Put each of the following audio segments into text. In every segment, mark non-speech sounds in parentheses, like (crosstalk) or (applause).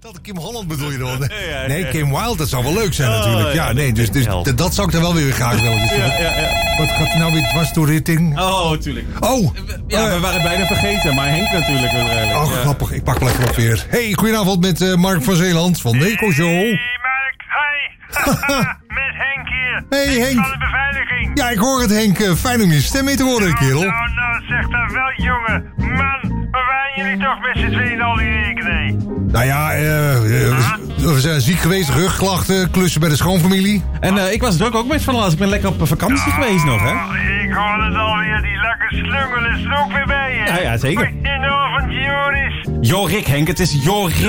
Dat Kim Holland bedoel je dan? ja, Nee, ja. Kim Wilde, dat zou wel leuk zijn natuurlijk. Ja, ja, nee, dus, dus helpt. d- dat zou ik dan wel weer graag willen. Wat gaat er nou weer dwars door richting? Oh, tuurlijk. Oh, Ja, we waren bijna vergeten, maar Henk natuurlijk wel redelijk. oh Ja. grappig. Ik pak wel even op weer. Hey, goedenavond met eh, Mark van Zeeland van Neco Show. Hey Mark, hi. (laughs) Met Henk hier. Hey, Ik Henk. Van de beveiliging. Ja, ik hoor het Henk. Eh, Fijn om je stem mee te horen, Nou, kerel. nou, nou, zeg dat wel, jongen. Man, waar waren jullie toch met z'n tweeën al in één knee? Nou ja, eh, eh, we we zijn ziek geweest, rugklachten, klussen bij de schoonfamilie. En eh, ik was druk ook met van alles. Ik ben lekker op eh, vakantie geweest nog, hè? Oh, ik hoor het alweer. Die lekker slungel is er ook weer bij, hè? Ja, ja, zeker. Goedenavond, Joris. Jorik, Henk, het is Jorik. Oh,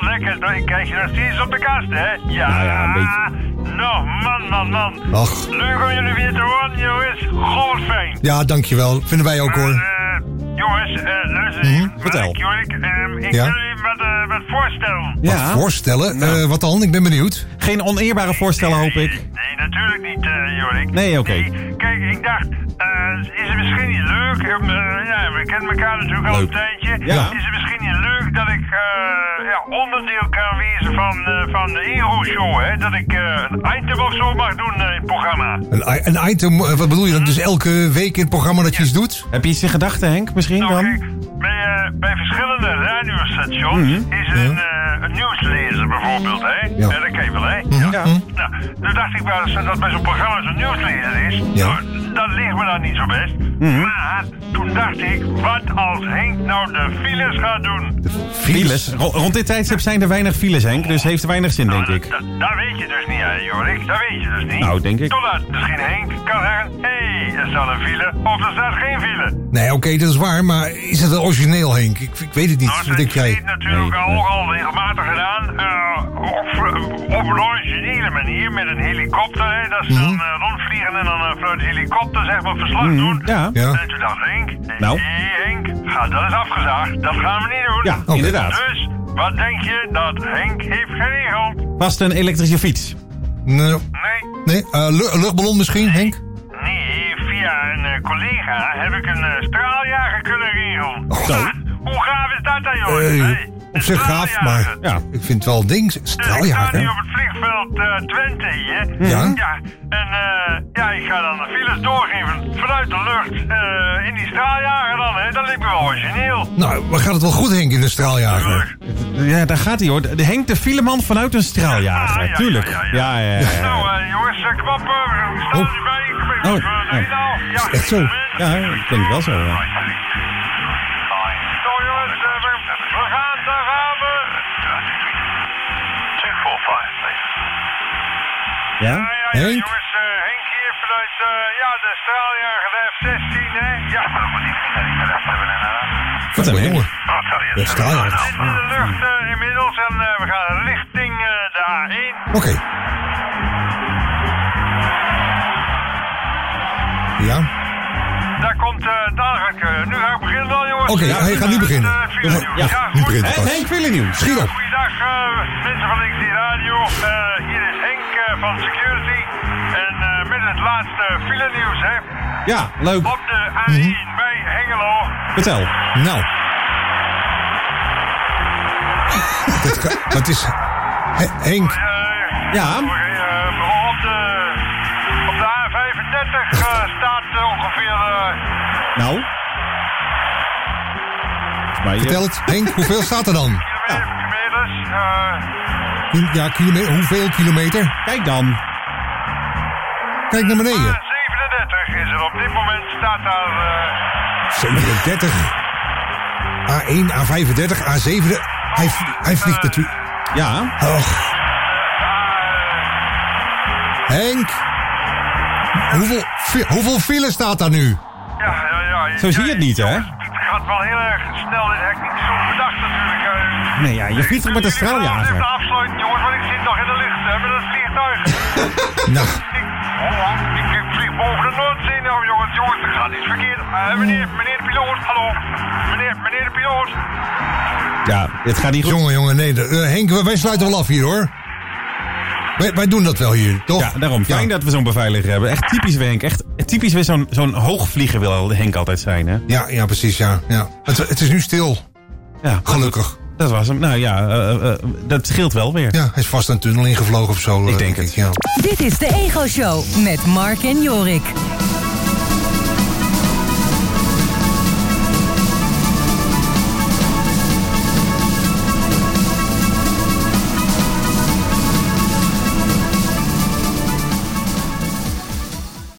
lekker. Nou, ik kijk je nog steeds op de kast, hè? Ja. Nou ja, een Nou, man, man, man. Ach. Leuk om jullie weer te horen, jongens. Golfijn. Ja, dankjewel. Vinden wij ook Maar, hoor. eh, jongens, eh luister Mhm, Mark, vertel. Jorik, ehm, ik Ja? wil jullie wat, eh, wat voorstellen. Ja, Wat voorstellen? Eh, wat dan? Ik ben benieuwd. geen oneerbare voorstellen hoop ik. Nee, natuurlijk niet, eh, Jorik. Nee, oké. Kijk, ik dacht, eh, is het misschien niet leuk? om, eh, ja, we kennen elkaar natuurlijk al een Leuk. tijdje. Ja. Is het misschien niet leuk dat ik eh, ja, onderdeel kan wezen van, eh, van de Ego Show? Hè? Dat ik eh, een item of zo mag doen eh, in het programma. Een, i- een item, eh, wat bedoel je dan? Dus elke week in het programma dat je iets doet? Heb je iets in gedachten, Henk, misschien Nou, kijk, dan? bij, eh, bij verschillende radiostations Mhm. is er een, eh, een nieuwslezer bijvoorbeeld, hè? Ja. Ja. dat ken je wel, hè? Ja. Nou, toen dacht ik wel eens dat bij zo'n programma zo'n nieuwslezer is. Ja. Nou, dat ligt me dan niet zo best. Mhm. Maar toen dacht ik, wat als Henk nou de files gaat doen? Files. Ro- rond dit tijdstip zijn er weinig files, Henk, dus heeft er weinig zin, denk ik. Dat, dat weet je dus niet, hè, Jorik. Dat weet je dus niet. Nou, denk ik. Totdat misschien Henk kan zeggen, hé, hey, er staat een file of er staat geen file. Nee, oké, dat is waar, maar is het wel origineel, Henk? Ik, ik weet het niet. Wat Nou, denk dat jij? heeft natuurlijk Nee, al, nee. al regelmatig gedaan. eh, op, op een originele manier met een helikopter. Hè, dat ze Mhm. dan eh, rondvliegen en dan eh, vanuit de helikopter zeg maar verslag doen. Ja. Ja. En toen dacht Henk, Nou. hé Henk, ga, dat is afgezaagd. Dat gaan we niet doen. Ja, Oké. inderdaad. Dus wat denk je dat Henk heeft geregeld? Vast een elektrische fiets. Nee, Nee. nee eh, lu- een luchtballon misschien, Henk? Nee, via een eh, collega heb ik een eh, straaljager kunnen regelen. Zo. Ha, (laughs) hoe gaaf is dat dan, jongen? Eh, Hey, Oh. op zich een gaaf, straaljager. maar Ja. ik vind het wel een ding. Dus ik sta nu op Straaljager. het vliegveld eh, Twente hier. Ja. En eh, ja, ik ga dan de files doorgeven vanuit de lucht eh, in die straaljager dan. Hè. Dat lijkt me wel origineel. Nou, maar gaat het wel goed, Henk, in de straaljager? Ja, daar gaat hij hoor. De- Henk de fileman vanuit een Ah, straaljager. ja, Tuurlijk. ja, ja, Ja, ja, ja. ja. ja. Nou eh, jongens, eh, klappen. We staan Oh. erbij. Ik ben Oh, eh, doe je ja. nou? Ja. Echt zo? Ja, ik denk wel zo. Ja. Nou jongens, eh, we, we gaan, daar gaan we. 245, Ja? Ja, ja, ja, Henk? jongens, eh, Henk hier vanuit eh, ja, de straaljager de F-16, hè? Ja, Wat een Jongen. Henk. De straaljager. Dit is de lucht eh, inmiddels en eh, we gaan richting eh, de A1. Oké. Ja? Daar komt eh daar ga ik, eh, nu ga ik beginnen dan, jongens. Oké, hij gaat nu beginnen. Eh, vier, Ja, jongens. ja, nu goed. begint. Henk, Henk Willenieuws. Schiet op. Goeiedag, eh, mensen van XD Radio. Eh, hier is Henk eh, van Security. En eh, met het laatste file nieuws, hè. Ja, leuk. Op de Mhm. A1 bij Hengelo. Vertel. Nou. Het ga- maar het is... He- Henk, Eh, Ja. Oké, eh, op, de, op de A35 eh, staat eh, ongeveer. eh, Nou. Maar je- vertel het. Henk, hoeveel staat er dan? kilometers. eh, Kil- Ja, kilometer, hoeveel kilometer? Kijk dan. Kijk naar beneden. Eh, A37 is er. Op dit moment staat daar. eh, 37. A1, A35, A7. Hij, vlie- hij vliegt natuurlijk... Ja. Och, eh, Henk. Hoeveel, fi- hoeveel file staat daar nu? ja, ja, ja, ja, Zo zie je het niet, hè? Het gaat wel heel erg snel. Dit heb ik niet zo bedacht, natuurlijk. eh. Nee, ja, je vliegt er met een Ik straaljager. ga afsluiten, jongens, want ik zit nog in de lucht hè, met dat vliegtuig. Nou, ik, oh, ik, ik vlieg boven de Noordzee nou, jongens, jongens, er gaat iets verkeerd. Eh, meneer, meneer de piloot, hallo. Meneer, meneer de piloot. Ja, dit gaat niet goed. jongen, jongen, nee. de- eh, Henk, wij- wij sluiten wel af hier, hoor. Wij, wij doen dat wel hier, toch? Ja, daarom. Fijn dat we zo'n beveiliger hebben. Echt typisch weer, Henk. Echt typisch weer zo'n zo'n hoogvlieger wil Henk altijd zijn, hè? Ja, ja precies, ja. ja. Het, het is nu stil, Ja. gelukkig. Dat was hem. Nou ja, eh, eh, dat scheelt wel weer. Ja, hij is vast een tunnel ingevlogen of zo. eh, denk het. ik, ja. Dit is de Ego Show met Mark en Jorik.